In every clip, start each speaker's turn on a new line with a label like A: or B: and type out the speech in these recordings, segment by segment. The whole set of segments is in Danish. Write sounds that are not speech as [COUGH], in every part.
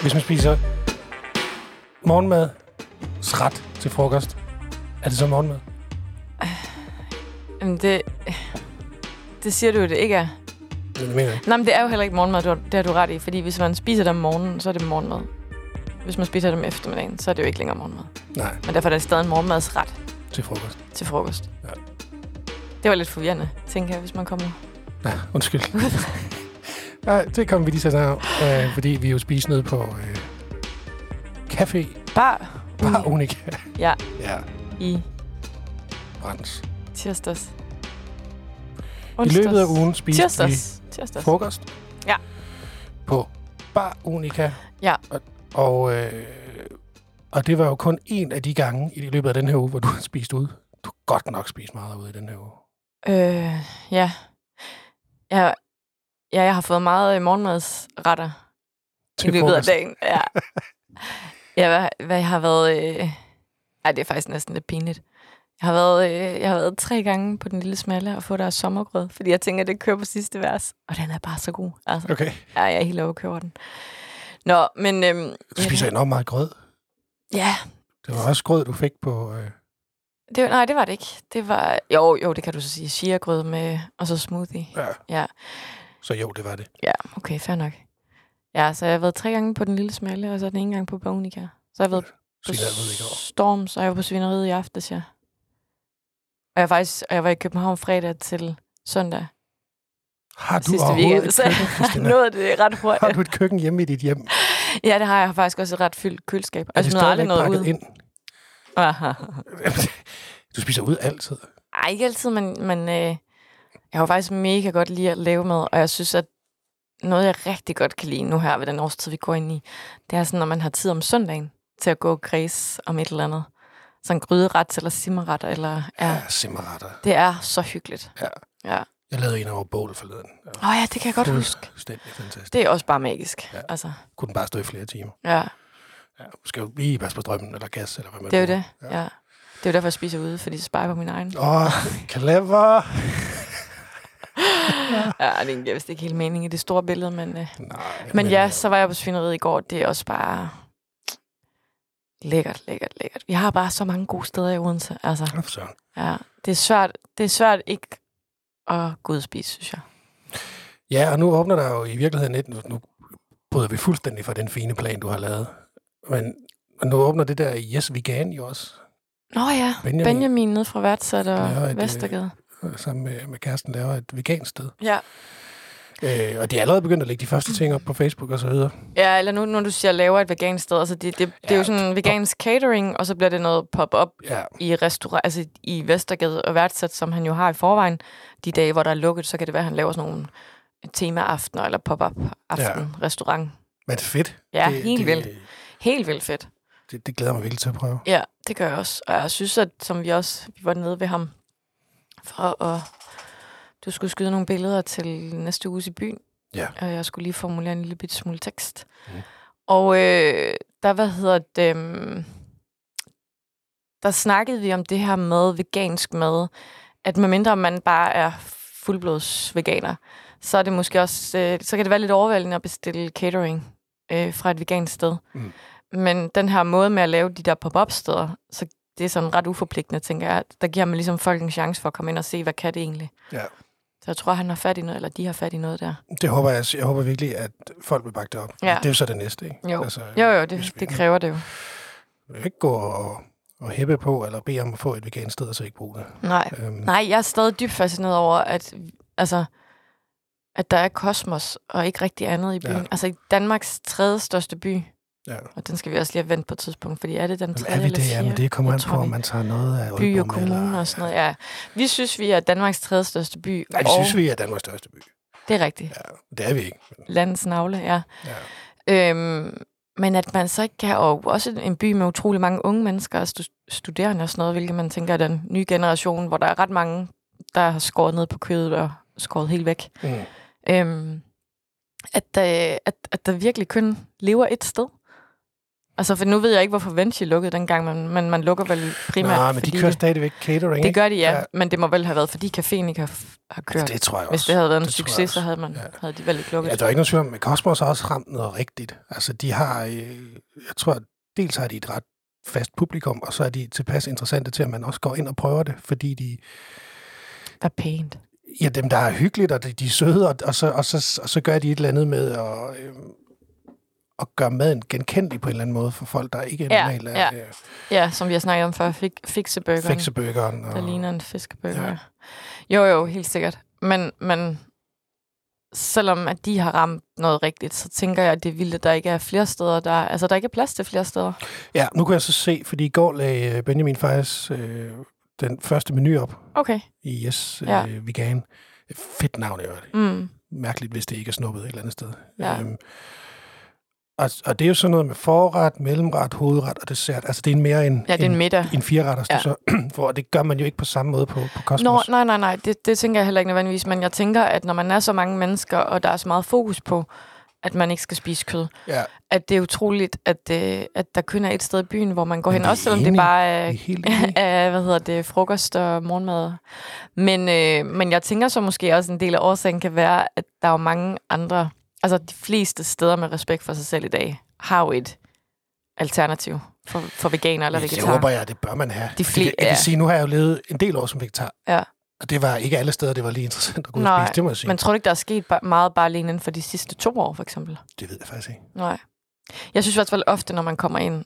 A: hvis man spiser morgenmad ret til frokost, er det så morgenmad?
B: Jamen, det... Det siger du jo, det ikke er.
A: Det mener jeg ikke.
B: Nej, men det er jo heller ikke morgenmad, du har, det har du ret i. Fordi hvis man spiser det om morgenen, så er det morgenmad. Hvis man spiser det om eftermiddagen, så er det jo ikke længere morgenmad.
A: Nej,
B: Men derfor er det stadig en morgenmadsret
A: til frokost.
B: til frokost.
A: Ja.
B: Det var lidt forvirrende, tænker jeg, hvis man kommer.
A: Nej, [LAUGHS] undskyld. Nej, det kommer vi lige til at snakke om, øh, fordi vi jo spiser nede på øh, Café
B: Bare
A: Bar Unica.
B: Ja.
A: Mm. Ja,
B: i
A: Brands.
B: tirsdags.
A: I løbet af ugen spiser vi
B: Tirsdags. Tirsdags.
A: frokost.
B: Ja.
A: På Bar Unica.
B: Ja.
A: Og, og, øh, og det var jo kun en af de gange i løbet af den her uge, hvor du har spist ud. Du har godt nok spist meget ud i den her uge.
B: Øh, ja. Jeg, ja, jeg har fået meget øh, morgenmadsretter i løbet
A: frokost.
B: af dagen. Ja. ja hvad, hvad jeg har været... Øh... Ej, det er faktisk næsten lidt pinligt. Jeg har, været, øh, jeg har været tre gange på den lille smalle og få der sommergrød, fordi jeg tænker, det kører på sidste vers. Og den er bare så god. Altså,
A: Okay.
B: ja, jeg er helt overkøber den. Nå, men... Øhm,
A: Du spiser enormt meget grød.
B: ja,
A: Det var også grød, du fik på... Øh,
B: det, nej, det var det ikke. Det var... Jo, jo, det kan du så sige. Chia-grød med... Og så smoothie.
A: ja.
B: Ja.
A: Så jo, det var det.
B: Okay, fair nok. Ja, så jeg har været tre gange på den lille smalle, og så den ene gang på Bonica. Så har jeg været på
A: Så jeg ved ikke over.
B: Storm, så er jeg var på Svineriet i aftes, ja. Og jeg, er faktisk, og jeg var i København fredag til søndag.
A: Har du
B: sidste
A: overhovedet
B: weekend,
A: et
B: så [LAUGHS]
A: køkken,
B: jeg
A: Christina?
B: nåede det ret hurtigt.
A: Har du et køkken hjemme i dit hjem?
B: Ja, det har jeg. jeg har faktisk også et ret fyldt køleskab. Og jeg
A: det
B: smider aldrig
A: stadigvæk
B: noget
A: pakket
B: ud.
A: Ind?
B: Aha.
A: [LAUGHS] Du spiser ud altid.
B: [LAUGHS] Ej, ikke altid, men, men øh, jeg har jo faktisk mega godt lide at lave mad, og jeg synes, at noget, jeg rigtig godt kan lide nu her ved den årstid, vi går ind i, det er sådan, når man har tid om søndagen til at gå og kreds om et eller andet. Sådan gryderet eller simmeret, eller... Ja,
A: Ja, simmeretter.
B: det er så hyggeligt.
A: Jeg lavede en over bål forleden. Det
B: Åh oh, ja, det kan jeg godt huske.
A: Fuldstændig fantastisk.
B: Det er også bare magisk.
A: Ja.
B: Ja. Altså,
A: Kunne den bare stå i flere timer.
B: ja,
A: Ja, du skal jo lige passe på strømmen eller gas, eller hvad man
B: det er jo
A: bruger.
B: det. Ja. Det er jo derfor, jeg spiser ude, fordi det sparer på min egen.
A: Åh, oh, clever.
B: Ja, det giver vist ikke helt mening i det store billede, men... Øh,
A: Nej,
B: Men ja,
A: øh,
B: så var jeg på svineriet i går. Det er også bare lækkert, lækkert, lækkert. Vi har bare så mange gode steder i Odense. Altså,
A: nå for søren.
B: ja, det er svært, det er svært ikke at gå ud og spise, synes jeg.
A: Ja, og nu åbner der jo i virkeligheden et... Nu, nu bryder vi fuldstændig fra den fine plan, du har lavet. Men men nu åbner det der Yes Vegan jo også,
B: Nå ja,
A: Benjamin.
B: Benjamin, Benjamin nede fra Værtsat og
A: Ja,
B: ja,
A: det-
B: Vestergade.
A: øh, sammen med, med kæresten laver et vegansted.
B: Ja.
A: Øh, og de er allerede begyndt at lægge de første ting op på Facebook og så videre.
B: ja, eller nu, når du siger, laver et vegansk sted, altså det, det, ja, det er
A: Ja,
B: jo sådan vegansk catering, og så bliver det noget pop-up
A: Ja,
B: i restaurant, altså i Vestergade og Værtsat, som han jo har i forvejen. De dage, hvor der er lukket, så kan det være, at han laver sådan nogle temaaftener eller pop-up aften, ja. restaurant.
A: men fedt.
B: Ja,
A: det,
B: helt
A: det,
B: vildt.
A: Det,
B: Helt vildt fedt.
A: det, det glæder mig virkelig til at prøve.
B: Ja, det gør jeg også. Og jeg synes, at som vi også vi var nede ved ham, for at du skulle skyde nogle billeder til næste uge i byen.
A: Ja.
B: Og jeg skulle lige formulere en lille bit smule tekst.
A: Mhm.
B: Og øh, der, hvad hedder det, øhm, der snakkede vi om det her med vegansk mad, at medmindre man bare er fuldblods veganer, så er det måske også, øh, så kan det være lidt overvældende at bestille catering øh, fra et vegansk sted.
A: Mm.
B: Men den her måde med at lave de der pop-up steder, så det er sådan ret uforpligtende, tænker jeg. Der giver man ligesom folk en chance for at komme ind og se, hvad kan det egentlig.
A: Ja.
B: Så jeg tror, han har fat i noget, eller de har fat i noget der.
A: Det håber jeg. Jeg håber virkelig, at folk vil bakke det op.
B: Ja.
A: Det er jo så det næste, ikke?
B: Jo.
A: altså,
B: Jo, jo, det,
A: hvis vi-
B: det kræver det jo.
A: Vi kan ikke gå og, og hæppe på, eller bede om at få et vegansted, og så ikke bruge det.
B: Nej.
A: Øhm,
B: Nej, jeg er stadig dybt fascineret over, at, altså, at der er kosmos og ikke rigtig andet i
A: Ja.
B: byen. Ja. Altså i Danmarks tredje største by,
A: ja.
B: og den skal vi også lige have vendt på et tidspunkt, fordi er det den
A: Jamen,
B: tredje
A: er vi
B: eller
A: det? Jamen, det kommer
B: Jeg
A: an
B: tror,
A: på, om
B: vi-
A: man tager noget af Aalborg
B: by og
A: med,
B: kommune og sådan noget. Ja. Vi synes, vi er Danmarks tredje største by,
A: Nej, det
B: og
A: synes vi er Danmarks største by.
B: det er rigtigt.
A: Ja, det er vi ikke. Men,
B: Landets navle, ja.
A: ja.
B: Øhm, men at man så ikke kan, og også en by med utrolig mange unge mennesker og stu- studerende og sådan noget, hvilket man tænker er den nye generation, hvor der er ret mange, der har skåret ned på kødet og skåret helt væk. øh,
A: Mm.
B: Øhm, at, der, at, at der virkelig kun lever et sted. Altså, for nu ved jeg ikke, hvorfor Vinci lukkede dengang, men, men man lukker vel primært,
A: Nej, men de
B: fordi
A: kører
B: det,
A: stadigvæk catering,
B: det gør de, ja,
A: Ja.
B: ja. Men det må vel have været, fordi caféen ikke har, f- har kørt.
A: Altså, det tror jeg også.
B: Hvis det havde været en
A: Det tror jeg
B: succes,
A: også.
B: så havde, man,
A: Ja.
B: ja. havde de vel ikke lukket.
A: Ja, der er ikke nogen tvivl om, at Cosmos har også ramt noget rigtigt. Altså, de har, øh, jeg tror, dels har de et ret fast publikum, og så er de tilpas interessante til, at man også går ind og prøver det, fordi de,
B: Hvad pænt.
A: ja, dem, der er hyggeligt, og de, de er søde, og, og, så, og, så, og så gør de et eller andet med at, øh, at gøre maden genkendelig på en eller anden måde for folk, der ikke er
B: Ja,
A: normalt
B: ja.
A: af øh,
B: Ja, som vi har snakket om før, fik, fikseburgeren,
A: fikseburgeren.
B: der
A: Og,
B: ligner en fiskeburger.
A: Ja.
B: Ja. Jo, jo, helt sikkert. Men, men selvom at de har ramt noget rigtigt, så tænker jeg, at det er vildt, at der ikke er flere steder. Der, altså, der ikke er plads til flere steder.
A: ja, nu kan jeg så se, fordi i går lagde øh, Benjamin faktisk øh, den første menu op
B: Okay.
A: i Yes øh,
B: Ja.
A: Vegan. Fedt navn, i øvrigt.
B: Mm.
A: mærkeligt, hvis det ikke er snuppet et eller andet sted.
B: Ja.
A: Øhm, og, og det er jo sådan noget med forret, mellemret, hovedret og dessert. Altså det er en mere en,
B: Ja, det er en
A: en,
B: middag.
A: en fireretters, ja.
B: Ja.
A: så [CLEARS THROAT] for, og det gør man jo ikke på samme måde på, på
B: Nå,
A: Cosmos.
B: nej, nej, nej. Det, det tænker jeg heller ikke nødvendigvis. Men jeg tænker, at når man er så mange mennesker, og der er så meget fokus på, at man ikke skal spise kød,
A: ja,
B: at det er utroligt, at, øh, at der kun er et sted i byen, hvor man går
A: Men
B: hen.
A: det er
B: Også selvom det
A: enig.
B: bare
A: det er
B: er, [LAUGHS]
A: helt enig.
B: er hvad hedder det, frokost og morgenmad. Men, øh, men jeg tænker så måske også, en del af årsagen kan være, at der er jo mange andre... Altså, de fleste steder med respekt for sig selv i dag har jo et alternativ for, for veganer eller
A: Ja, det
B: vegetarer.
A: håber jeg, det bør man have.
B: De
A: Fordi
B: fle-
A: det, jeg kan
B: ja.
A: sige, nu har jeg jo levet en del år som vegetar.
B: Ja.
A: Og det var ikke alle steder, det var lige interessant at gå ud og
B: Nej,
A: spise, det må jeg sige.
B: Men tror du ikke, der er sket ba- meget bare lige inden for de sidste to år, for eksempel?
A: Det ved jeg faktisk ikke.
B: Nej. Jeg synes i hvert fald ofte, når man kommer ind,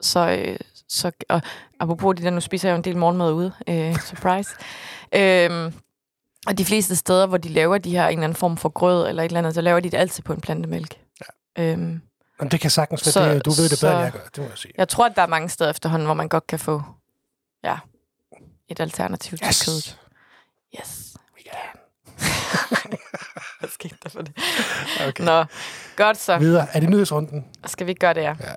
B: så, øh, så og apropos det der, nu spiser jeg jo en del morgenmad ude, øh, [LAUGHS] surprise. øhm, og de fleste steder, hvor de laver de her en eller anden form for grød eller et eller andet, så laver de det altid på en plantemælk. Ja. Øhm,
A: Jamen, det kan sagtens være,
B: Så-
A: det, du ved det bedre,
B: så-
A: end jeg gør. Det må jeg sige.
B: jeg tror, at der er mange steder efterhånden, hvor man godt kan få ja, et alternativ til kødet. Yes.
A: Vegan.
B: Hvad skete der for det?
A: Okay.
B: Nå, godt så.
A: Videre. Er det nyhedsrunden?
B: Skal vi ikke gøre det, ja?
A: Ja.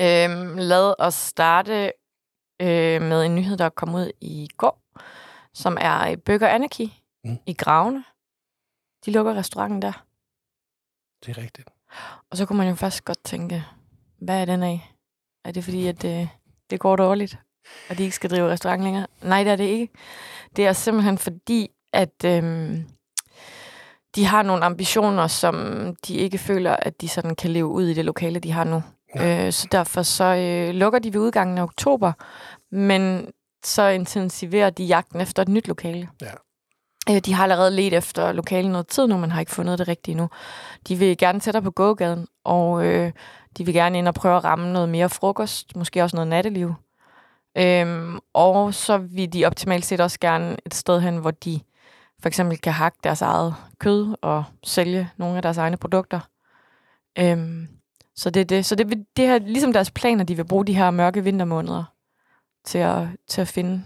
B: Øhm, lad os starte øh, med en nyhed, der kom ud i går, som er øh, Burger Anarchy
A: Mm.
B: mm. i Gravene. De lukker restauranten der.
A: Det er rigtigt.
B: Og så kunne man jo faktisk godt tænke, hvad er den af? Er det fordi, at det, det går dårligt, og de ikke skal drive restaurant længere? Nej, det er det ikke. Det er simpelthen fordi, at øhm, de har nogle ambitioner, som de ikke føler, at de sådan kan leve ud i det lokale, de har nu.
A: Ja.
B: Ja. Øh, så derfor så øh, lukker de ved udgangen af oktober, men så intensiverer de jagten efter et nyt lokale.
A: Ja.
B: Øh, de har allerede let efter lokale noget tid nu, men har ikke fundet det rigtige nu. De vil gerne tættere på gågaden, og øh, de vil gerne ind og prøve at ramme noget mere frokost, måske også noget natteliv. Øhm, og så vil de optimalt set også gerne et sted hen, hvor de for eksempel kan hakke deres eget kød og sælge nogle af deres egne produkter. Øhm, så det er det. Så det, vil- det her, ligesom deres planer, de vil bruge de her mørke vintermåneder til at, til at finde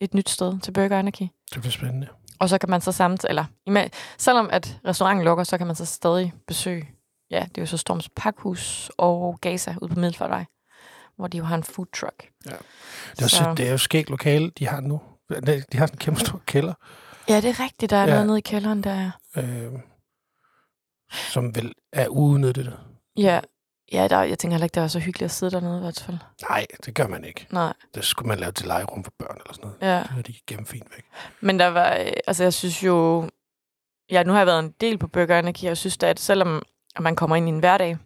B: et nyt sted til Burger Anarchy.
A: Det bliver spændende.
B: Og så kan man så samt, eller ima- selvom at restauranten lukker, så kan man så stadig besøge, ja, det er jo så Storms Pakhus og Gaza ude på Middelfartvej, hvor de jo har en food truck.
A: Ja. Det er, så... det er jo skægt lokale, de har nu. De har sådan en kæmpe stor kælder,
B: ja, det er rigtigt, der er
A: Ja.
B: ja. noget nede i kælderen, der er.
A: øh, som vel er uudnyttet.
B: Ja, ja der, jeg tænker heller ikke, det var så hyggeligt at sidde dernede i hvert fald.
A: Nej, det gør man ikke.
B: Nej,
A: Det skulle man lave til legerum for børn eller sådan noget.
B: ja.
A: Det har de gennem fint væk.
B: Men der var, øh, altså jeg synes jo, ja, nu har jeg været en del på Burger Anarchy, og jeg synes da, at selvom at man kommer ind i en hverdag,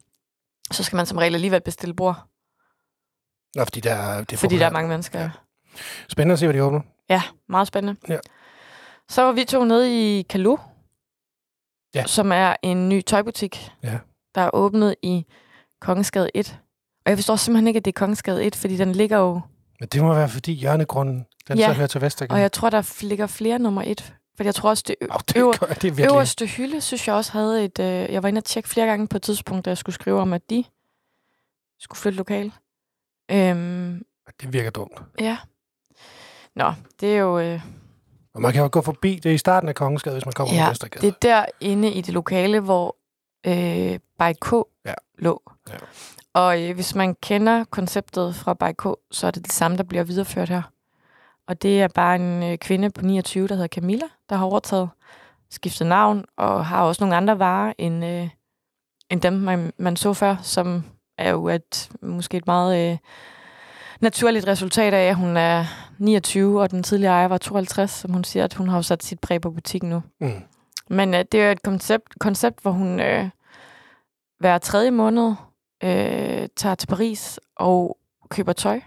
B: så skal man som regel alligevel bestille bord,
A: Nå, fordi der, er- det er
B: fordi der er
A: populært.
B: mange mennesker.
A: Ja.
B: Ja.
A: Spændende at se, hvad de åbner.
B: Ja, meget spændende.
A: Ja.
B: Så var vi to nede i Kalu,
A: Ja.
B: som er en ny tøjbutik,
A: Ja.
B: der er åbnet i Kongensgade 1. Og jeg forstår simpelthen ikke, at det er Kongensgade 1, fordi den ligger jo...
A: Men det må være, fordi hjørnegrunden, den ja.
B: Ja.
A: så hører til Vestergaard.
B: Og jeg tror, der f- ligger flere nummer 1. For jeg tror også, det ø-
A: Oh, det,
B: øver-
A: gør, det er virkelig...
B: øverste hylde, synes jeg også havde et... Øh, jeg var inde og tjekke flere gange på et tidspunkt, da jeg skulle skrive om, at de skulle flytte lokal. Øhm,
A: Det virker dumt.
B: ja. Nå, det er jo... Øh,
A: Og man kan jo gå forbi det er i starten af Kongensgade, hvis man kommer ja,
B: Ja,
A: fra Vestergade.
B: Det er der inde i det lokale, hvor øh, By K
A: Ja.
B: ja. lå.
A: Ja.
B: Ja. Og øh, hvis man kender konceptet fra By K, så er det det samme, der bliver videreført her. Og det er bare en øh, kvinde på 29, der hedder Camilla, der har overtaget, skiftet navn, og har også nogle andre varer end, øh, end dem, man, man så før, som er jo et, måske et meget øh, naturligt resultat af, at hun er 29, og den tidligere ejer var 52, som hun siger, at hun har jo sat sit præg på butikken nu.
A: Mm.
B: Men øh, det er jo et koncept, koncept hvor hun øh, hver tredje måned øh, tager til Paris og køber tøj.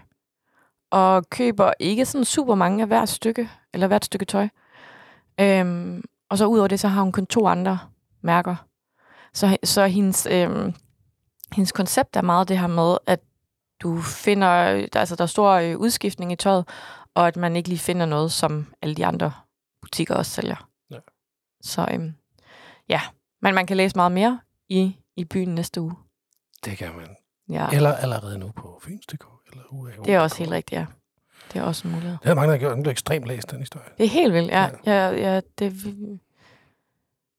B: Og køber ikke sådan super mange af hvert stykke, eller hvert stykke tøj. Øhm, og så ud over det, så har hun kun to andre mærker. Så, så hendes, øhm, hendes koncept er meget det her med, at du finder, der, altså der er stor øh, udskiftning i tøjet, og at man ikke lige finder noget, som alle de andre butikker også sælger.
A: Ja.
B: Så øhm, ja, men man kan læse meget mere i, i byen næste uge.
A: Det kan man.
B: Ja,
A: Eller allerede nu på Fyns.dk. Eller UAO.dk.
B: det er også helt rigtigt, ja. Det er også en mulighed.
A: Det havde mange, der har gjort. Den blev ekstremt læst, den historie.
B: Det er helt vildt, ja. ja. ja, ja det,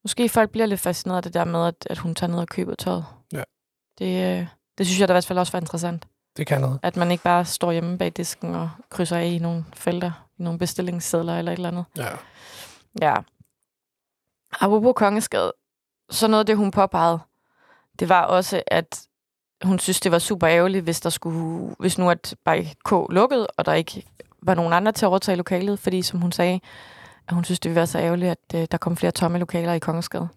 B: måske folk bliver lidt fascineret af det der med, at, at hun tager ned og køber tøjet.
A: Ja.
B: Det, øh, det synes jeg da i hvert fald også var interessant.
A: Det kan noget.
B: At man ikke bare står hjemme bag disken og krydser af i nogle felter, i nogle bestillingssedler eller et eller andet.
A: Ja.
B: Ja. Apropos kongeskade, så noget af det, hun påpegede, det var også, at hun synes, det var super ærgerligt, hvis, der skulle, hvis nu at Bay K lukkede, og der ikke var nogen andre til at overtage lokalet, fordi som hun sagde, at hun synes, det ville være så ærgerligt, at øh, der kom flere tomme lokaler i Kongeskade.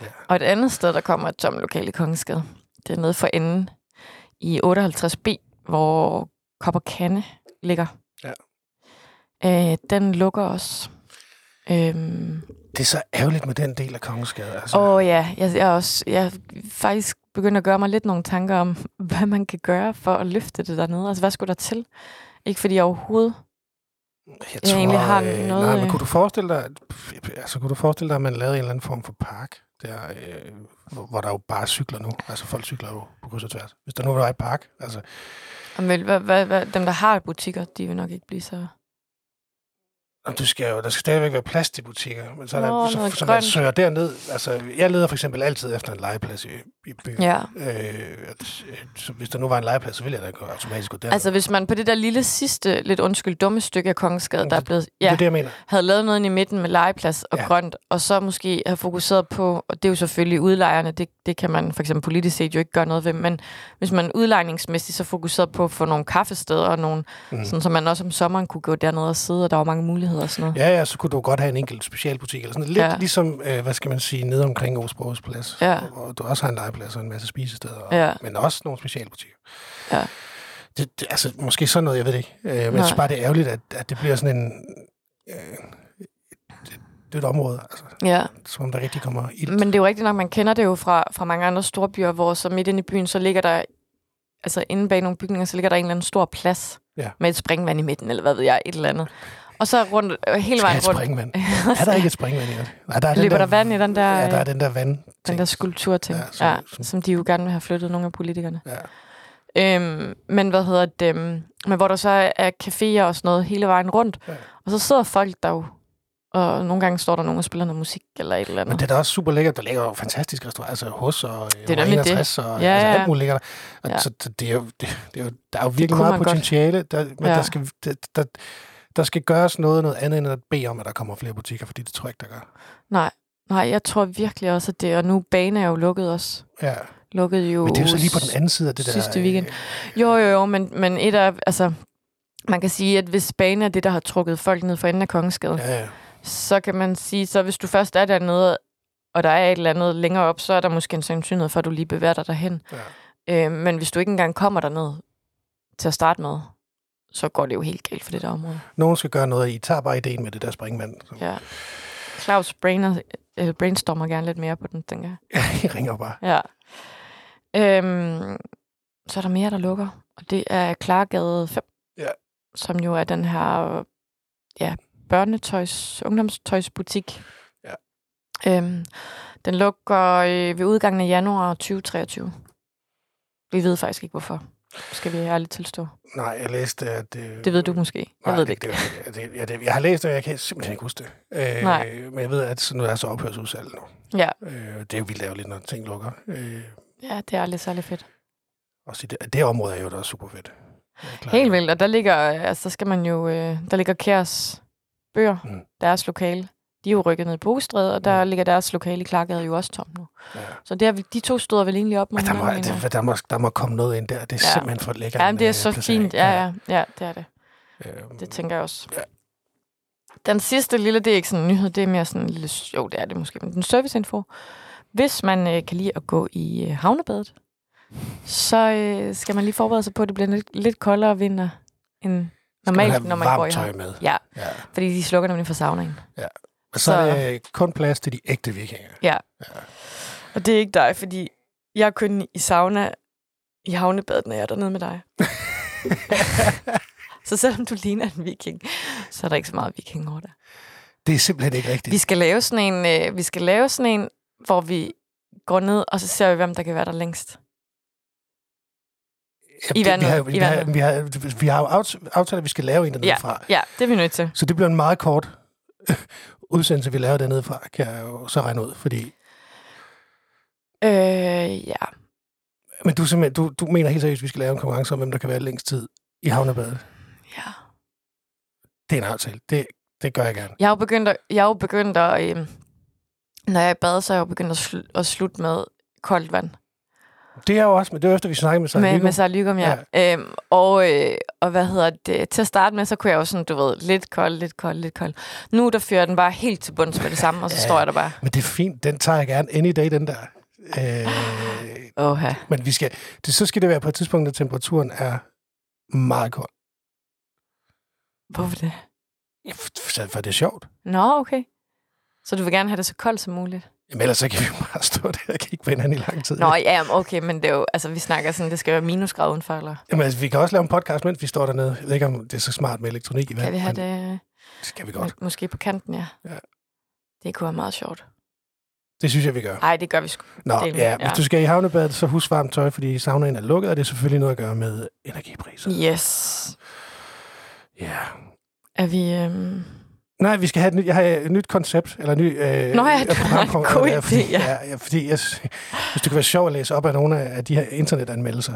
A: Ja.
B: Ja. Og et andet sted, der kommer et tomt lokale i Kongeskade, det er nede for enden i 58B, hvor Kop og Kande ligger.
A: Ja.
B: Øh, den lukker også. Øhm,
A: Det er så ærgerligt med den del af Kongeskade. Altså.
B: Åh oh, ja, jeg, jeg, er også, jeg er faktisk begyndt at gøre mig lidt nogle tanker om, [LAUGHS] hvad man kan gøre for at løfte det dernede. Altså, hvad skulle der til? Ikke fordi jeg overhovedet...
A: Jeg
B: egentlig har noget,
A: Nej, men
B: øh,
A: kunne du forestille dig, altså, kunne du forestille dig, at man lavede en eller anden form for park, der, øh, hvor, hvor der jo bare cykler nu? Altså folk cykler jo på kryds og tværs. Hvis der nu var et park, altså,
B: Om vel, hvad, hvad, hvad, dem, der har butikker, de vil nok ikke blive så...
A: og du skal jo, der skal stadigvæk være plads til butikker, men så, er
B: Nå,
A: der,
B: noget
A: så, så man
B: grønt.
A: søger derned. Altså, jeg leder for eksempel altid efter en legeplads i, i byen.
B: Ja.
A: Øh, at- øh, så hvis der nu var en legeplads, så ville jeg da gå automatisk gå derned.
B: Altså, hvis man på det der lille sidste, lidt undskyld, dumme stykke af Kongensgade, der er blevet...
A: ja. Det er
B: Ja,
A: det, jeg mener.
B: havde lavet noget inde i midten med legeplads og
A: Ja.
B: ja. grønt, og så måske have fokuseret på, og det er jo selvfølgelig udlejerne, det, det kan man for eksempel politisk set jo ikke gøre noget ved, men hvis man udlejningsmæssigt så fokuseret på at få nogle kaffesteder og nogle,
A: Mm.
B: mm. sådan, så man også om sommeren kunne gå dernede og sidde, og der var mange muligheder og sådan noget.
A: Ja, ja, så kunne du godt have en enkelt specialbutik eller sådan noget. Lidt ja.
B: Ja.
A: ligesom, øh, hvad skal man sige, nede omkring Osborgs plads.
B: Ja.
A: Hvor du også har en legeplads og en masse spisesteder. Og,
B: Ja.
A: Men også nogle specialbutikker.
B: Ja.
A: Det, det, altså, måske sådan noget, jeg ved det ikke. Øh, men jeg synes
B: Nej.
A: bare, det er ærgerligt, at, at det bliver sådan en... Øh, det, det er et område, altså,
B: Ja.
A: som om der rigtig kommer ild.
B: Men det er jo rigtigt nok, man kender det jo fra, fra mange andre store byer, hvor så midt inde i byen, så ligger der, altså inde bag nogle bygninger, så ligger der en eller anden stor plads
A: Ja.
B: med et springvand i midten, eller hvad ved jeg, et eller andet. Og så rundt, øh, hele
A: Skal have
B: vejen
A: et
B: rundt.
A: springvand.
B: [LAUGHS]
A: Er der ikke et springvand i det? Nej, der er den
B: Løber der vand i den der,
A: Ja, der er
B: øh,
A: den der vand.
B: Den der skulpturting,
A: Ja,
B: ja,
A: som-
B: som, ja,
A: som-
B: som de jo gerne vil have flyttet, nogle af politikerne.
A: Ja.
B: Øhm, men hvad hedder det? øhm, Men hvor der så er caféer og sådan noget hele vejen rundt.
A: Ja.
B: Ja. Og så sidder folk der jo. Og nogle gange står der nogen og spiller noget musik eller et eller andet.
A: Men det er da også super lækkert. Der ligger jo fantastisk restaurant, altså hos og øh,
B: er nemlig det.
A: 61 og ja,
B: Ja,
A: altså,
B: ja.
A: alt muligt ligger der. Og ja.
B: Ja.
A: så, så det er jo, det, det er jo, der er jo virkelig
B: kunne
A: meget
B: man godt.
A: potentiale, der, men ja.
B: Ja.
A: der, skal, der, der, der skal gøres noget, noget andet end at bede om, at der kommer flere butikker, fordi det tror jeg ikke, der gør.
B: Nej, nej, jeg tror virkelig også, at det... Og nu Bane er jo lukket også.
A: Ja.
B: Lukket jo...
A: Men det er jo så lige på den anden side af det der.
B: sidste weekend.
A: øh,
B: Jo, jo, jo, men, men et af... Altså, man kan sige, at hvis Bane er det, der har trukket folk ned fra enden af Kongensgade,
A: Ja, ja.
B: så kan man sige, så hvis du først er dernede, og der er et eller andet længere op, så er der måske en sandsynlighed for, at du lige bevæger dig derhen.
A: Ja.
B: Øh, men hvis du ikke engang kommer derned til at starte med, så går det jo helt galt for det der område.
A: Nogen skal gøre noget, I tager bare ideen med det der springvand. Så
B: Ja. Claus brainer, øh, brainstormer gerne lidt mere på den, tænker jeg.
A: [LAUGHS] I ringer bare.
B: Ja. Øhm, så er der mere, der lukker, og det er Klargade 5,
A: Ja.
B: som jo er den her ja, børnetøjs, ungdomstøjsbutik.
A: Ja.
B: Øhm, den lukker øh, ved udgangen af januar 2023. Vi ved faktisk ikke, hvorfor. Skal vi ærligt tilstå.
A: Nej, jeg læste, at... Øh,
B: Det ved du måske. Jeg
A: Nej,
B: ved det ikke.
A: Det, det, ja, det, jeg har læst det, men jeg kan simpelthen ikke huske det. Øh,
B: Nej.
A: Men jeg ved, at sådan noget er så ophørsudsalg nu.
B: Ja.
A: Øh, det er jo vildt ærgerligt, når ting lukker. Øh, og
B: Ja, det er aldrig særlig fedt.
A: også i det, det område er jo da også super fedt. Ja, klart.
B: Helt vildt, og der ligger, øh, altså, der skal man jo, øh, der ligger Kærs bøger,
A: Mm.
B: mm. deres lokale. de er jo rykket ned i Bogestræde, og der ja. ligger deres lokale i Klargade jo også tom nu.
A: Ja.
B: Så der, de to støder vel egentlig op mod
A: Ej, der, må, altså
B: hinanden, mener jeg.
A: det, der, må, der må komme noget ind der. Det er ja.
B: Ja.
A: simpelthen for lækkert. øh,
B: Ja, men det er så fint. Ja, ja, ja, det er det.
A: Øhm,
B: Det tænker jeg også.
A: Ja.
B: Den sidste lille, det er ikke sådan en nyhed, det er mere sådan en lille, jo det er det måske, men en serviceinfo. Hvis man øh, kan lide at gå i øh, havnebadet, så øh, skal man lige forberede sig på, at det bliver lidt, lidt koldere vinter end
A: skal
B: normalt,
A: have
B: når man går i
A: varmt tøj
B: havn.
A: med.
B: Ja,
A: Ja.
B: fordi de slukker nemlig for saunaen.
A: Og så, så er det øh, kun plads til de ægte
B: [LAUGHS]
A: vikinger.
B: Og det er ikke dig, fordi jeg er kun i sauna i havnebadet, når jeg er dernede med dig. så selvom du ligner en viking, så er der ikke så meget viking over dig.
A: Det er simpelthen ikke rigtigt.
B: Vi skal lave sådan en, øh, vi skal lave sådan en, hvor vi går ned, og så ser vi, hvem der kan være der længst.
A: Jamen,
B: I
A: det- vi,
B: vandet,
A: har, jo-
B: i
A: vi, har,
B: vandet.
A: vi, har, vi har jo aft- aftalt, at vi skal lave en dernede fra.
B: Ja, det er vi nødt til.
A: Så det bliver en meget kort øh, udsendelse, vi laver dernede fra, kan jeg jo så regne ud. Fordi,
B: Øh, ja.
A: men du, simpelthen, du, du mener helt seriøst, at vi skal lave en konkurrence om, hvem der kan være længst tid i havnebadet.
B: ja.
A: Det er en aftale. Det, det gør jeg gerne.
B: Jeg er jo begyndt at, jeg er jo begyndt at øh, når jeg er i bad, så er jeg jo begyndt at, sl- at slutte med koldt vand.
A: Det er jo også, men det er jo efter, vi snakker med
B: med,
A: Sarah
B: med Sarah Lykum, ja. ja. Øhm, og, øh, og hvad hedder det? Til at starte med, så kunne jeg jo sådan, du ved, lidt kold, lidt kold, lidt kold. Nu der fører den bare helt til bunds med det samme, og så
A: Ja.
B: ja. står jeg der bare.
A: Men det er fint. Den tager jeg gerne any day, den der. Øh,
B: Åh,
A: men vi skal, det, så skal det være på et tidspunkt, når temperaturen er meget kold.
B: hvorfor det?
A: Ja, for- For det er sjovt.
B: Nå, okay. Så du vil gerne have det så koldt som muligt?
A: Jamen ellers så kan vi jo bare stå der og kigge på hinanden i lang tid.
B: Nå, ja, jamen, okay, men det er jo, altså, vi snakker sådan, det skal være minusgrad udenfor, eller?
A: Jamen, altså, vi kan også lave en podcast, mens vi står dernede. Jeg ved ikke, om det er så smart med elektronik i vand.
B: Kan vi have
A: men
B: det
A: det? skal vi godt.
B: må, måske på kanten, ja?
A: Ja.
B: Det kunne være meget sjovt.
A: Det synes jeg, vi gør.
B: Nej, det gør vi sgu.
A: Nå,
B: det-
A: ja, hvis
B: ja.
A: du skal i havnebadet, så husk varmt tøj, fordi saunaen er lukket, og det er selvfølgelig noget at gøre med energipriser.
B: Yes. Mm.
A: Ja.
B: Er vi... Øhm...
A: Nej, vi skal have et nyt, jeg har et nyt koncept, eller ny øh,
B: Nå ja, det var
A: programpunkt,
B: en god
A: ja, fordi,
B: idé,
A: ja.
B: ja.
A: ja, fordi jeg, s- hvis det kunne være sjovt at læse op af nogle af de her internetanmeldelser,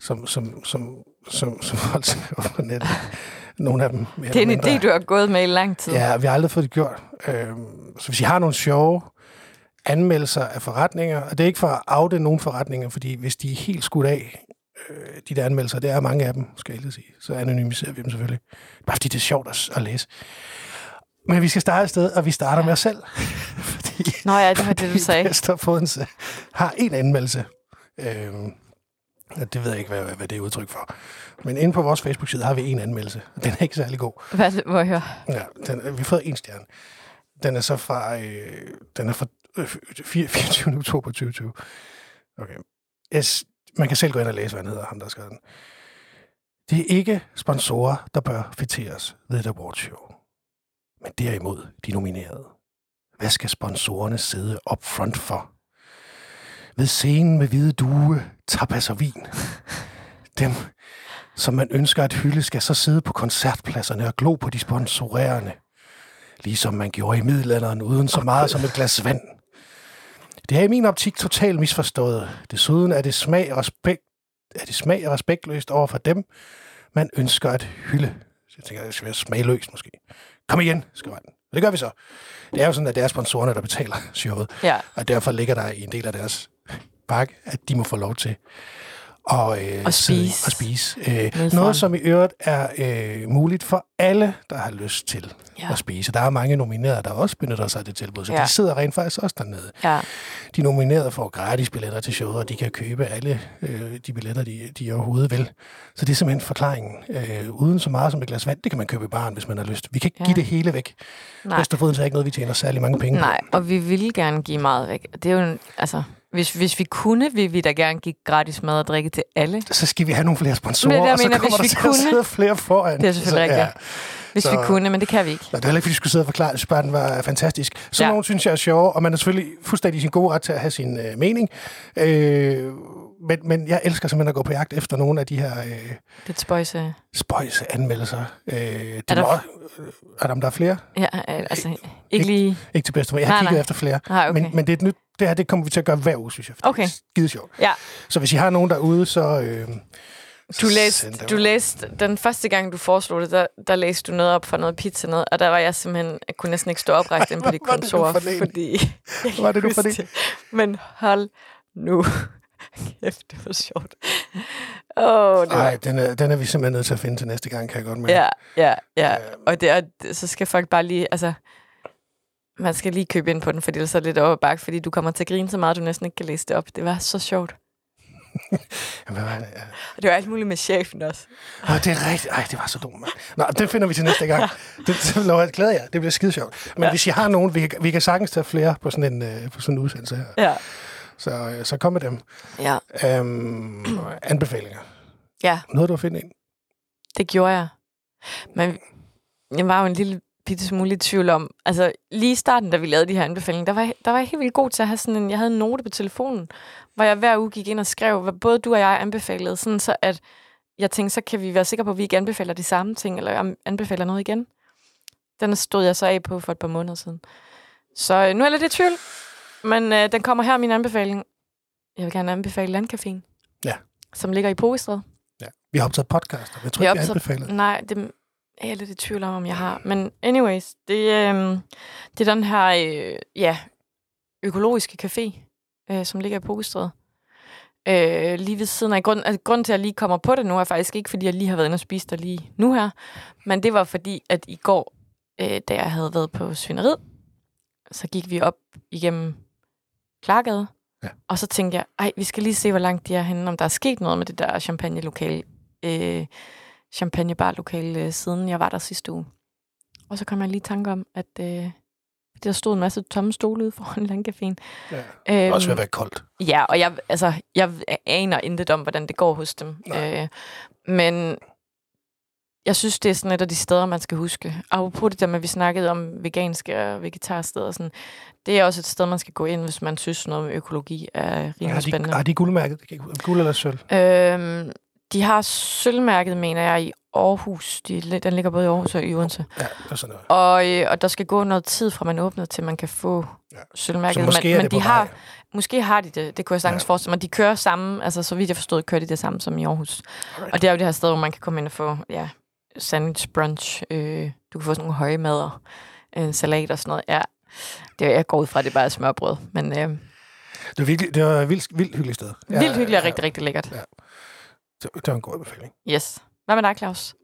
A: som, som, som, som, som holdt sig på nettet. Nogle af dem. mere
B: Det er en
A: eller mindre.
B: idé, du har gået med i lang tid.
A: Ja, vi har aldrig fået det gjort. Øhm, så hvis I har nogle sjove anmeldelser af forretninger, og det er ikke for at afde nogen forretninger, fordi hvis de er helt skudt af, øh, de der anmeldelser, det er mange af dem, skal jeg lige sige, så anonymiserer vi dem selvfølgelig. Bare fordi det er sjovt at, s- at læse. Men vi skal starte et sted, og vi starter ja.
B: Ja.
A: med os selv. [LAUGHS] fordi
B: Nå ja, det var det,
A: [LAUGHS]
B: du sagde.
A: Esther Fodense har en anmeldelse. Øhm, og det ved jeg ikke, hvad, hvad det er udtryk for. Men inde på vores Facebook-side har vi en anmeldelse, og den er ikke særlig god.
B: Hvad, må jeg høre?
A: Ja, den, vi har fået en stjerne. Den er så fra, øh, den er fra øh, fire- 24. oktober 2020. Okay. Es, man kan selv gå ind og læse, hvad han hedder, ham der skrev den. Det er ikke sponsorer, der bør fitteres ved et awards show. Men derimod de nominerede. Hvad skal sponsorerne sidde op front for? Ved scenen med hvide due, tapas og vin. Dem, som man ønsker at hylde, skal så sidde på koncertpladserne og glo på de sponsorerende. Ligesom man gjorde i middelalderen, uden så meget som et glas vand. Det er i min optik totalt misforstået. Desuden er det smag og respekt, er det smag og respektløst over for dem, man ønsker at hylde. Så jeg tænker, det skal være smagløst måske. Kom igen, skriver han. Og det gør vi så. Det er jo sådan, at det er sponsorerne, der betaler showet.
B: Ja.
A: Og derfor ligger der i en del af deres pakke, at de må få lov til at, øh,
B: At
A: sidde i-
B: spise.
A: At spise. Øh,
B: Nede
A: noget,
B: foran.
A: som i øvrigt er øh, muligt for alle, der har lyst til ja.
B: Ja.
A: at spise. Der er mange nominerede, der også benytter sig af det tilbud, så ja.
B: Ja.
A: de sidder rent faktisk også dernede.
B: Ja.
A: De nominerede får gratis billetter til showet, og de kan købe alle øh, de billetter, de, de overhovedet vil. Så det er simpelthen forklaringen. Øh, uden så meget som et glas vand, det kan man købe i baren, hvis man har lyst. Vi kan ikke ja.
B: Ja.
A: give det hele væk.
B: Nej.
A: Vesterfoden er ikke noget, vi tjener særlig mange penge på.
B: Nej, og vi ville gerne give meget væk. Det er jo, en- altså, hvis, hvis vi kunne, ville vi da gerne give gratis mad og drikke til alle.
A: så skal vi have nogle flere sponsorer,
B: Men det er det, jeg
A: og så
B: mener,
A: kommer der
B: hvis
A: til
B: vi
A: at
B: kunne.
A: sidde flere foran.
B: Det er selvfølgelig
A: så,
B: rigtigt. Hvis
A: Så-
B: så... vi kunne, men det kan vi ikke.
A: Nå, det er heller ikke, fordi du skulle sidde og forklare, at Spartan var fantastisk. Så ja.
B: Ja.
A: nogen synes jeg er sjove, og man er selvfølgelig fuldstændig i sin gode ret til at have sin øh, mening. Øh, men, men jeg elsker simpelthen at gå på jagt efter nogle af de her øh,
B: Det er spøjse.
A: spøjse anmeldelser. Øh, det er,
B: Er der-
A: der... Også, er der, der er flere?
B: Ja, øh, altså, ikke lige...
A: Ikke til bedste, for jeg har
B: Nej,
A: kigget
B: nej.
A: efter flere.
B: Nej, okay.
A: Men, men det, er et nyt, det her det kommer vi til at gøre hver uge, synes jeg. for
B: Okay.
A: Det er skide sjovt.
B: Ja.
A: Så hvis I har nogen derude, så, øh,
B: Du læste,
A: Send det
B: du
A: ud.
B: læste, den første gang, du foreslog det, der, der læste du noget op for noget pizza noget, og der var jeg simpelthen, jeg kunne næsten ikke stå oprejst inde på
A: Hvad
B: dit
A: var det, du
B: kontor,
A: fornægte?
B: fordi jeg
A: Hvad var det, du
B: huske
A: fornægte?
B: Men hold nu. [LAUGHS] Kæft, det var sjovt. Åh, oh, det var...
A: Nej, den er, den er vi simpelthen nødt til at finde til næste gang, kan jeg godt mærke.
B: Ja, ja, ja.
A: Øhm.
B: Og det er, så skal folk bare lige, altså, man skal lige købe ind på den, fordi ellers er det lidt over bak, fordi du kommer til at grine så meget, at du næsten ikke kan læse det op. Det var så sjovt.
A: Hvad var det? Ja.
B: Og det var alt muligt med chefen også.
A: Ah, det er rigtigt. Ej, det var så dumt, mand. Nå, det finder vi til næste
B: [LAUGHS]
A: gang. Det, det lover jeg glæder jer. Det bliver skide sjovt. Men ja. hvis I har nogen, vi kan, vi kan sagtens tage flere på sådan en, øh, på sådan en udsendelse her.
B: Ja.
A: Så, øh, så kom med dem.
B: ja.
A: Øhm, anbefalinger.
B: Ja.
A: Noget, du har fundet ind?
B: Det gjorde jeg. Men jeg var jo en lille bitte smule i tvivl om, altså lige i starten, da vi lavede de her anbefalinger, der var, jeg- der var jeg helt vildt god til at have sådan en, jeg havde en note på telefonen, hvor jeg hver uge gik ind og skrev, hvad både du og jeg anbefalede, sådan så at jeg tænkte, så kan vi være sikre på, at vi ikke anbefaler de samme ting, eller am- anbefaler noget igen. Den stod jeg så af på for et par måneder siden. Så øh, nu er jeg lidt i tvivl, men øh, den kommer her, min anbefaling. Jeg vil gerne anbefale Landcaféen,
A: Ja.
B: som ligger i Pogestred.
A: Ja. Vi har optaget podcast, og jeg tror
B: Vi
A: ikke,
B: har
A: vi har
B: optaget-
A: anbefalet.
B: Nej, det er jeg lidt i tvivl om, om jeg har. Men anyways, det, øh, det er den her øh, ja, økologiske café, øh, som ligger i Pogestred. Øh, lige ved siden af. Grund, altså, grunden til, at jeg lige kommer på det nu, er faktisk ikke, fordi jeg lige har været inde og spise der lige nu her. Men det var fordi, at i går, øh, da jeg havde været på Svineriet, så gik vi op igennem Klargade.
A: Ja.
B: Og så tænkte jeg, ej, vi skal lige se, hvor langt de er henne, om der er sket noget med det der champagne-lokale. Øh, champagnebarlokale, øh, siden jeg var der sidste uge. Og så kom jeg lige i tanke om, at øh, der stod en masse tomme stole ude foran [LAUGHS] landcaféen.
A: Ja.
B: Øhm,
A: Også ved at være koldt.
B: Ja, og jeg, altså, jeg aner intet om, hvordan det går hos dem.
A: Nej.
B: Øh, men jeg synes, det er sådan et af de steder, man skal huske. Apropos det der med, at vi snakkede om veganske og vegetarsteder. Sådan, det er også et sted, man skal gå ind, hvis man synes noget med økologi er rimelig
A: Har de,
B: spændende.
A: har de guldmærket? Det kan ikke- Guld eller sølv?
B: Øhm, de har sølvmærket, mener jeg, i Aarhus. De, li- den ligger både i Aarhus og i Odense.
A: Ja, det er sådan noget.
B: Og, øh, og der skal gå noget tid, fra man åbner, til man kan få
A: Ja.
B: ja.
A: Så
B: sølvmærket.
A: måske
B: men
A: er
B: men
A: det
B: de
A: på
B: har,
A: vej.
B: måske har de det, det kunne jeg sagtens
A: Ja.
B: ja. forestille mig. De kører samme, altså så vidt jeg forstod, kører de det samme som i Aarhus.
A: Alright.
B: Og det er jo det her sted, hvor man kan komme ind og få ja, sandwich brunch. Øh, du kan få sådan nogle høje mader, øh, salat og sådan noget. Ja, det, jeg går ud fra, at det bare er smørbrød. Men øh,
A: Det var, virkelig, det var et vildt, vildt hyggeligt sted. Ja,
B: vildt hyggeligt og
A: ja.
B: rigtig, rigtig lækkert.
A: Det, det var en god anbefaling.
B: Yes. Hvad med dig, Claus?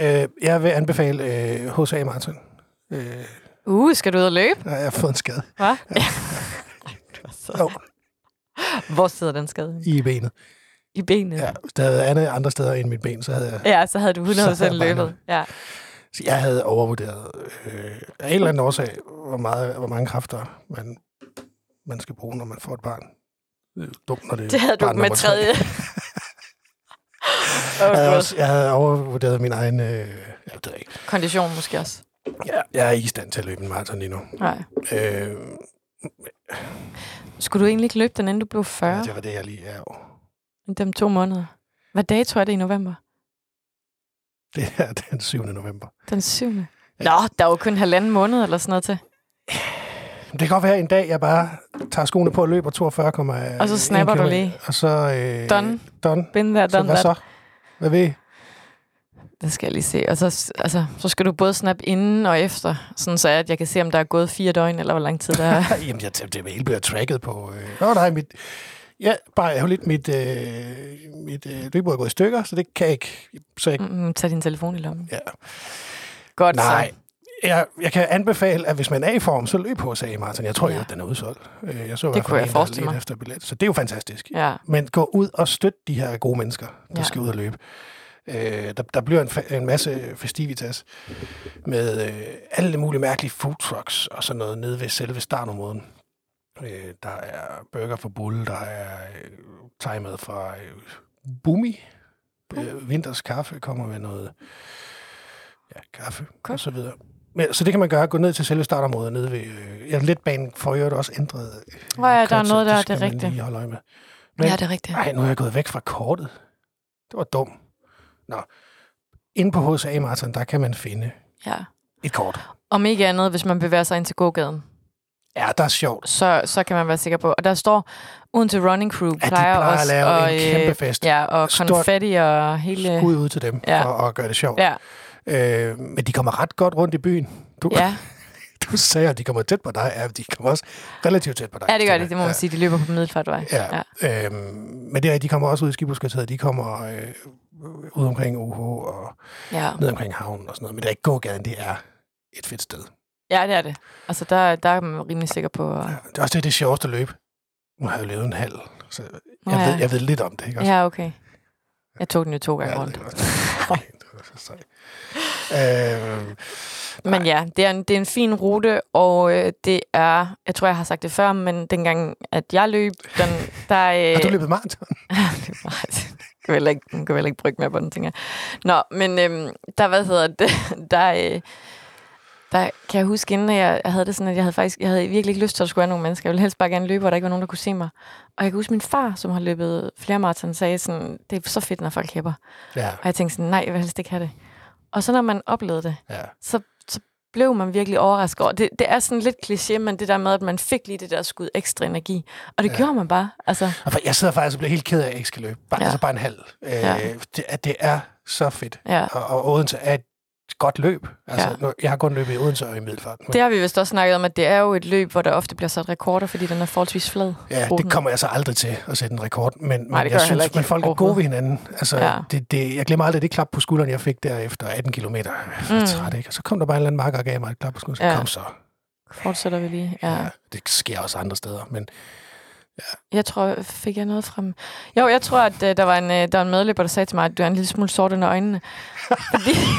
A: Øh, jeg vil anbefale øh, H.C. Martin. Øh,
B: Uh, skal du ud og løbe?
A: nej, jeg har fået en
B: [LAUGHS]
A: skade
B: Hvad?
A: Jo.
B: Hvor sidder den skade? henne?
A: i benet.
B: I benene?
A: Ja, hvis der havde andet andre steder end mit ben, så havde jeg
B: ja så havde du
A: Så havde
B: 100%
A: jeg bare
B: løbet. Ja.
A: Så jeg havde overvurderet øh, af en eller anden årsag, hvor, meget, hvor mange kræfter man, man skal bruge, når man får et barn. Det er jo dumt, når det, er
B: Det havde du
A: barn
B: med
A: nummer tre.
B: [LAUGHS] tredje.
A: Jeg havde,
B: oh,
A: også, jeg havde overvurderet min egen... Øh, jeg, ved det ikke.
B: Kondition måske også.
A: Jeg, jeg er ikke i stand til at løbe en maraton lige nu.
B: Nej.
A: Øh,
B: Skulle du egentlig ikke løbe den, inden du blev 40?
A: ja.
B: Ja,
A: Det var det, jeg lige er jo.
B: Dem to måneder. Hvad dato er det i november?
A: Det er den 7. november.
B: Den 7. Nå, der er jo kun halvanden måned eller sådan noget til.
A: Det kan godt være en dag, jeg bare tager skoene på og løber 42,
B: Og så snapper du lige.
A: Og så... Øh,
B: Done.
A: Done.
B: Been there,
A: Så
B: done
A: hvad
B: that.
A: så? Hvad ved I?
B: Det skal jeg lige se. Og så, altså, så skal du både snappe inden og efter, sådan så at jeg kan se, om der er gået fire døgn, eller hvor lang tid
A: [LAUGHS]
B: der er.
A: Jamen, jeg, det det hele bliver tracket på... Øh. Nå, nej, mit... Ja, bare jeg har lidt mit, øh, mit øh, løbebord er gået i stykker, så det kan jeg ikke. Så jeg,
B: Mm, Tag din telefon i lommen.
A: ja.
B: Godt
A: Nej,
B: så.
A: jeg, jeg kan anbefale, at hvis man er i form, så løb på, sagde Martin. Jeg tror
B: Ja.
A: jo, at den er udsolgt. Øh, Jeg så i
B: Det
A: hvert
B: kunne
A: fald
B: jeg
A: en, der
B: forestille
A: ledte
B: mig.
A: efter billet, så det er jo fantastisk.
B: Ja.
A: Men gå ud og støt de her gode mennesker, der ja.
B: Ja.
A: skal ud og løbe. Øh, der, der bliver en, fa- en masse festivitas med øh, alle mulige mærkelige food trucks og sådan noget nede ved selve startområden. Øh, der er burger fra Bull, der er øh, thai-mad fra øh, Bumi. Øh, vinters kaffe kommer med noget ja, kaffe
B: Godt.
A: og så videre. Men, så det kan man gøre. Gå ned til selve startområdet nede ved... Øh, ja, letbanen får jo også ændret. øh,
B: Nå ja, der er
A: koncept.
B: noget der, det
A: skal
B: er
A: man
B: rigtigt.
A: Lige holde øje med. Men-
B: ja, det er rigtigt.
A: Nej, nu er jeg gået væk fra kortet. Det var dumt. Nå. Inde på HSA Marathon, der kan man finde
B: Ja.
A: et kort.
B: Om ikke andet, hvis man bevæger sig ind til gågaden.
A: Ja, der er sjovt.
B: så, så kan man være sikker på. Og der står, uden til Running Crew
A: Ja, de
B: plejer,
A: plejer at
B: også
A: lave
B: og,
A: en kæmpe fest.
B: Ja, og
A: Stort
B: konfetti og hele...
A: Skud ud til dem
B: Ja.
A: ja. for at gøre det sjovt.
B: Ja,
A: Ja. Øh, men de kommer ret godt rundt i byen. Du, ja.
B: ja.
A: [LAUGHS] du sagde, at de kommer tæt på dig. Ja, de kommer også relativt tæt på dig.
B: ja, det gør det. Det må
A: Ja.
B: man sige. De løber på middelfartvej.
A: Ja. ja. Øhm, men det er, de kommer også ud i Skibhuskvarteret. De kommer øh, ud omkring OH og
B: ja.
A: ned omkring havnen og sådan noget. Men det er ikke gågaden, det er et fedt sted.
B: Ja, det er det. Altså, der, der er man rimelig sikker på... at-
A: Ja. Det er også det, det sjoveste løb. Nu har jeg jo lavet en halv, så jeg,
B: Nå
A: ja.
B: ja.
A: ved, jeg ved lidt om det. Ikke? også?
B: Ja, okay. Jeg tog den jo to gange
A: Ja,
B: rundt.
A: det var- okay, [LAUGHS] det var så sejt. Øhm,
B: Men ja, det er en, det er en fin rute, og øh, det er... Jeg tror, jeg har sagt det før, men dengang, at jeg løb, den, der... Øh,
A: har du løbet maraton?
B: Nej, [LAUGHS] det kan vi heller ikke, kan vi heller ikke brygge med på den, tænker jeg. Nå, men øhm, der, hvad hedder det, [LAUGHS] der, øh, der kan jeg huske, inden jeg, jeg havde det sådan, at jeg havde faktisk, jeg havde virkelig ikke lyst til at skulle have nogle mennesker. Jeg ville helst bare gerne løbe, hvor der ikke var nogen, der kunne se mig. Og jeg kan huske, min far, som har løbet flere maraton, sagde sådan, det er så fedt, når folk hæpper.
A: Ja,
B: Og jeg tænkte sådan, nej, jeg vil helst ikke have det. Og så når man oplevede det,
A: ja.
B: så, så blev man virkelig overrasket over. Det, det er sådan lidt kliché, men det der med, at man fik lige det der skud ekstra energi. Og det ja. gjorde man bare. Altså,
A: Og for- Jeg sidder faktisk og bliver helt ked af, at jeg ikke skal løbe. Bare,
B: Ja.
A: ja. Altså bare en halv. Øh,
B: Ja.
A: ja. det, at det er så fedt.
B: ja.
A: Og, og Odense er et godt løb. Altså,
B: Ja.
A: ja. nu, jeg har kun løbet i Odense og i Middelfart. Men,
B: Det har vi vist også snakket om, at det er jo et løb, hvor der ofte bliver sat rekorder, fordi den er forholdsvis flad.
A: ja,
B: ruten.
A: det kommer jeg så aldrig til at sætte en rekord. Men, men
B: gør jeg
A: jeg
B: heller ikke
A: men folk er gode ved hinanden. Altså,
B: Ja.
A: ja. det, det, jeg glemmer aldrig det klap på skulderen, jeg fik der efter 18 km. Jeg var
B: Mm.
A: mm. træt, ikke? Og så kom der bare en eller anden marker og gav mig et klap på skulderen. Så
B: Ja.
A: ja. kom så.
B: Fortsætter vi lige. Ja.
A: Ja. Det sker også andre steder. Men
B: Jeg tror, fik jeg noget frem? Jo, jeg tror, at øh, der, var en, øh, der var en medløber, der sagde til mig, at du er en lille smule sort under øjnene.
A: [LAUGHS]
B: Fordi [LAUGHS]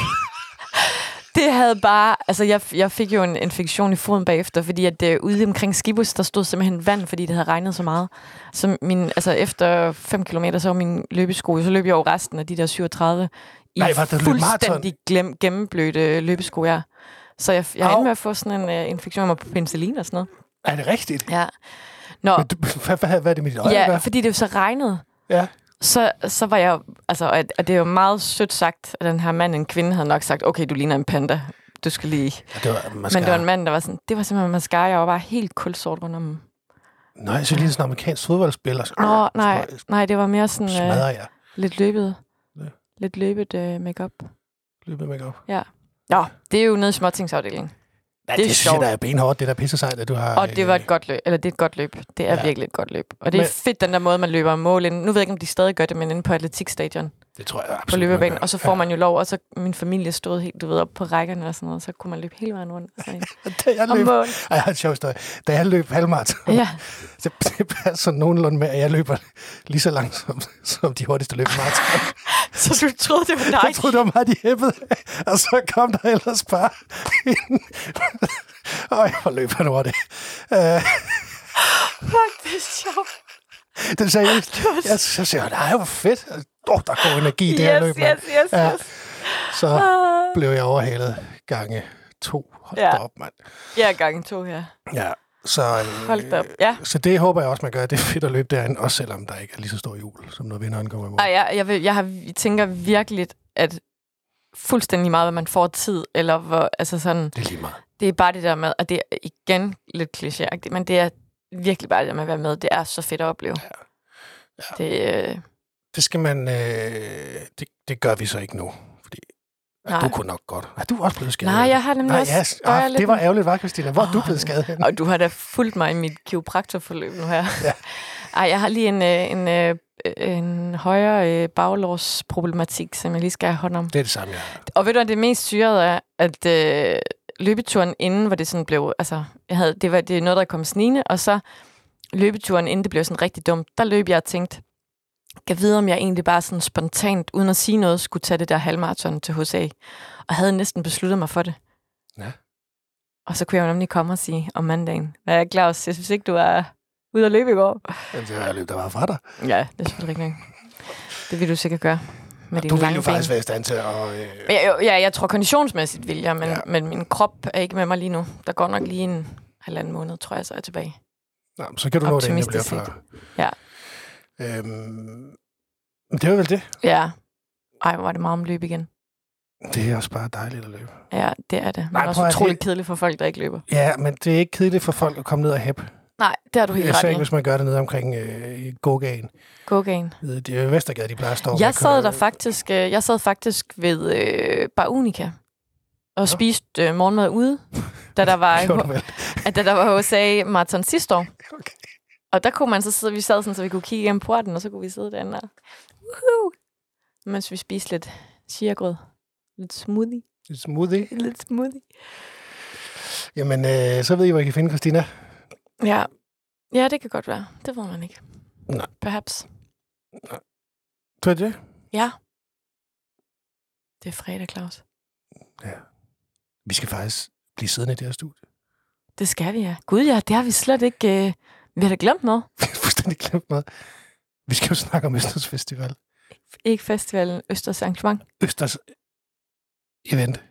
B: det havde bare... Altså, jeg, jeg fik jo en infektion i foden bagefter, fordi at øh, ude omkring Skibus, der stod simpelthen vand, fordi det havde regnet så meget. Så min, altså, efter 5 km, så var min løbesko, så løb jeg over resten af de der 37 i
A: Nej, var det, du løb maraton?
B: fuldstændig glem, gennemblødte øh, løbesko, ja. Så jeg, jeg
A: Au.
B: endte med at få sådan en øh, infektion med penicillin og sådan noget.
A: er det rigtigt?
B: Ja. Nå,
A: Men du, hvad, hvad, hvad er det med dit øje? at
B: Ja,
A: gøre?
B: fordi det jo så regnede.
A: Ja.
B: Så, så var jeg, altså, og- og det er jo meget sødt sagt, at den her mand, en kvinde, havde nok sagt, okay, du ligner en panda, du skal lige...
A: Ja, det var, man skal...
B: Men det var en mand, der var sådan, det var simpelthen mascara, jeg var bare helt kulsort rundt
A: Ah,
B: om.
A: Nå, jeg synes lige sådan en amerikansk fodboldspiller. Så,
B: Nå, nej, nej, det var mere sådan øh,
A: Smadrer jeg
B: lidt løbet,
A: Ja.
B: lidt løbet øh, makeup.
A: løbet med op.
B: Nå, det er jo nede i småtingsafdelingen.
A: Ja,
B: Det er
A: det, det synes jeg,
B: sjovt.
A: der er benhårdt, det der pisse sejt, at du har...
B: Og det var
A: øh,
B: et godt løb, eller det er et godt løb. Det er
A: Ja.
B: virkelig et godt løb. Og det er
A: Men-
B: fedt, den der måde, man løber mål ind. Nu ved jeg ikke, om de stadig gør det, men inde på atletikstadion.
A: Det tror jeg absolut.
B: på
A: man
B: løbebanen,
A: gør.
B: og så får man jo lov, og så min familie stod helt, du ved, op på rækkerne og sådan noget, og så kunne man løbe hele vejen rundt. og Så
A: [LAUGHS]
B: ind.
A: Ja. Da jeg
B: Og
A: løb...
B: mål.
A: Ej, jeg har en sjov historie. Da jeg løb halvmaraton,
B: Ja,
A: det, det passer nogenlunde med, at jeg løber lige så langsomt, som de hurtigste løb i maraton.
B: så du troede, det var dig.
A: Jeg troede, det var mig, de hæppede. Og så kom der ellers bare en... Øj, hvor løb han hurtigt. Øh,
B: Fuck, det er sjovt.
A: det sagde jeg. Jeg så siger, jeg, nej, hvor fedt. Åh, oh, der går energi i det her
B: Yes,
A: løb.
B: yes,
A: mand."
B: yes, yes.
A: Ja.
B: Ja.
A: Så blev jeg overhalet gange to. Hold
B: Ja.
A: ja. op, mand.
B: ja, gange to her.
A: Ja, så, øh,
B: Hold da op. Ja.
A: så det håber jeg også, man gør. Det er fedt at løbe derinde, også selvom der ikke er lige så stor jul, som når vinderen kommer i morgen.
B: Ej, jeg, jeg, vil, jeg, har, jeg tænker virkelig, at fuldstændig meget, hvad man får tid, eller hvor, altså sådan,
A: Det er lige meget.
B: det er bare det der med, og det er igen lidt klichéagtigt, men det er virkelig bare det der med at være med. Det er så fedt at opleve. Ja.
A: Ja.
B: Det, øh,
A: Det skal man... Øh, det, det gør vi så ikke nu, fordi
B: Nej.
A: Nej. du kunne nok godt. Er du er også blevet skadet?
B: nej, jeg har nemlig
A: Nej,
B: også...
A: ja,
B: der er
A: ah,
B: lidt
A: det var ærgerligt, var Christina? Hvor er du
B: Åh,
A: blevet skadet hen?
B: Og du har da fulgt mig i mit kiropraktorforløb nu her. Ja.
A: Ja.
B: Ej, jeg har lige en, øh, en, øh, en højere øh, baglårsproblematik, som jeg lige skal have hånd om.
A: Det er det samme, jeg har.
B: Og ved du, hvad det mest syrede er, at øh, løbeturen inden, hvor det sådan blev, altså, jeg havde, det, var, det er noget, der kom snigende, og så løbeturen inden, det blev sådan rigtig dumt, der løb jeg og tænkte, kan vide, om jeg egentlig bare sådan spontant, uden at sige noget, skulle tage det der halvmarathon til HSA. Og havde næsten besluttet mig for det.
A: Ja.
B: Og så kunne jeg jo nemlig komme og sige om mandagen, hvad er Claus, jeg synes ikke, du er ude at løbe i går.
A: Jamen, Det var ærgerligt, der var fra dig.
B: Ja, det er selvfølgelig rigtigt. nok. Det vil du sikkert gøre. Med
A: Du
B: dine
A: ville
B: lange
A: jo
B: ben.
A: faktisk være i stand til at... Øh,
B: Men jeg, ja, jeg tror konditionsmæssigt vil jeg, men, ja.
A: Ja.
B: men min krop er ikke med mig lige nu. Der går nok lige en halvanden måned, tror jeg, så er jeg tilbage.
A: Nå, så kan du nå det, inden jeg bliver
B: Optimistisk
A: før.
B: Ja.
A: Øhm, men det var vel det.
B: Ja. Ej, hvor var det meget om løb igen.
A: Det er også bare dejligt at løbe.
B: Ja, det er det. Men
A: Nej,
B: Nej, også
A: prøv at-
B: utroligt
A: det-
B: kedeligt for folk, der ikke løber.
A: Ja, men det er ikke kedeligt for folk at komme ned og hæppe.
B: Nej, det har du helt
A: Især
B: ret
A: ikke,
B: i.
A: hvis man gør det nede omkring øh, i gågaden.
B: Gågagen.
A: Ved, Det er jo Vestergade, de plejer at stå. og
B: Jeg
A: køre-
B: sad der faktisk, øh, jeg sad faktisk ved øh, Bar Unica og spiste øh, morgenmad ude,
A: [LAUGHS]
B: da der var,
A: Gjorde du vel?
B: at, da der var USA Marathon sidste år.
A: Okay.
B: Og der kunne man så sidde, vi sad sådan, så vi kunne kigge igennem porten, og så kunne vi sidde derinde og, uhu, mens vi spiste lidt chiagrød. Lidt smoothie.
A: Smoothie.
B: [LAUGHS] Lidt smoothie.
A: Jamen, øh, så ved I, hvor I kan finde Christina.
B: Ja. ja, det kan godt være. Det ved man ikke.
A: Nej.
B: Perhaps.
A: Tror I det?
B: Ja. Det er fredag, Claus.
A: Vi skal faktisk blive siddende i det her studie. [LAUGHS]
B: Det skal vi, ja. Gud ja, det har vi slet ikke... Øh, vi har da glemt noget.
A: Vi har fuldstændig glemt noget. Vi skal jo snakke om Østers Festival.
B: Ikke festivalen, Østers arrangement. [LAUGHS]
A: Østers event.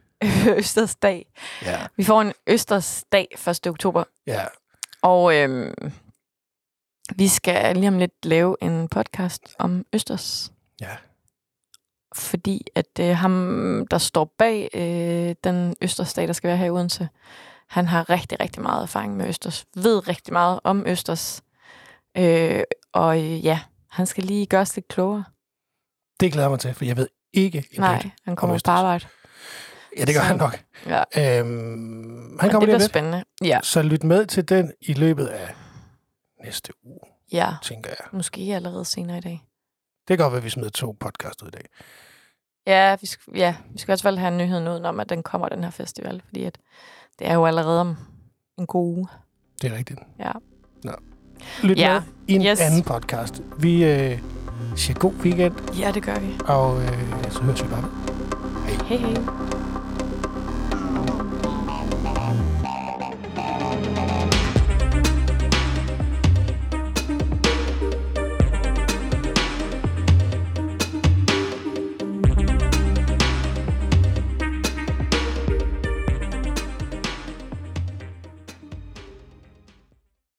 B: Østers dag.
A: Ja.
B: Vi får en Østers dag 1. oktober,
A: Ja.
B: og øhm, vi skal lige om lidt lave en podcast om Østers.
A: Ja.
B: Fordi at øh, ham, der står bag øh, den Østers dag, der skal være her i Odense, han har rigtig, rigtig meget erfaring med Østers. Ved rigtig meget om Østers. Øh, og øh, ja, han skal lige gøre os lidt klogere.
A: Det glæder jeg mig til, for jeg ved ikke en bøtte.
B: Nej, han kommer på
A: Østers.
B: arbejde.
A: Ja, det gør
B: Så-
A: han nok. Øhm,
B: Ja.
A: han
B: Men
A: kommer
B: det
A: lige
B: bliver
A: om lidt.
B: spændende. Ja,
A: Så lyt med til den i løbet af næste uge,
B: ja.
A: tænker jeg.
B: Måske allerede senere i dag.
A: Det kan godt være, at vi smider to podcast ud i dag.
B: Ja, vi skal, ja, vi skal også vel have nyheden ud om, at den kommer, den her festival, fordi at det er jo allerede om en god uge.
A: Det er rigtigt.
B: Ja.
A: Nå. Lyt
B: Ja.
A: med i en
B: Yes.
A: anden podcast. Vi øh, siger god weekend,
B: Ja, det gør vi.
A: og øh, så høres vi bare.
B: Hej hej.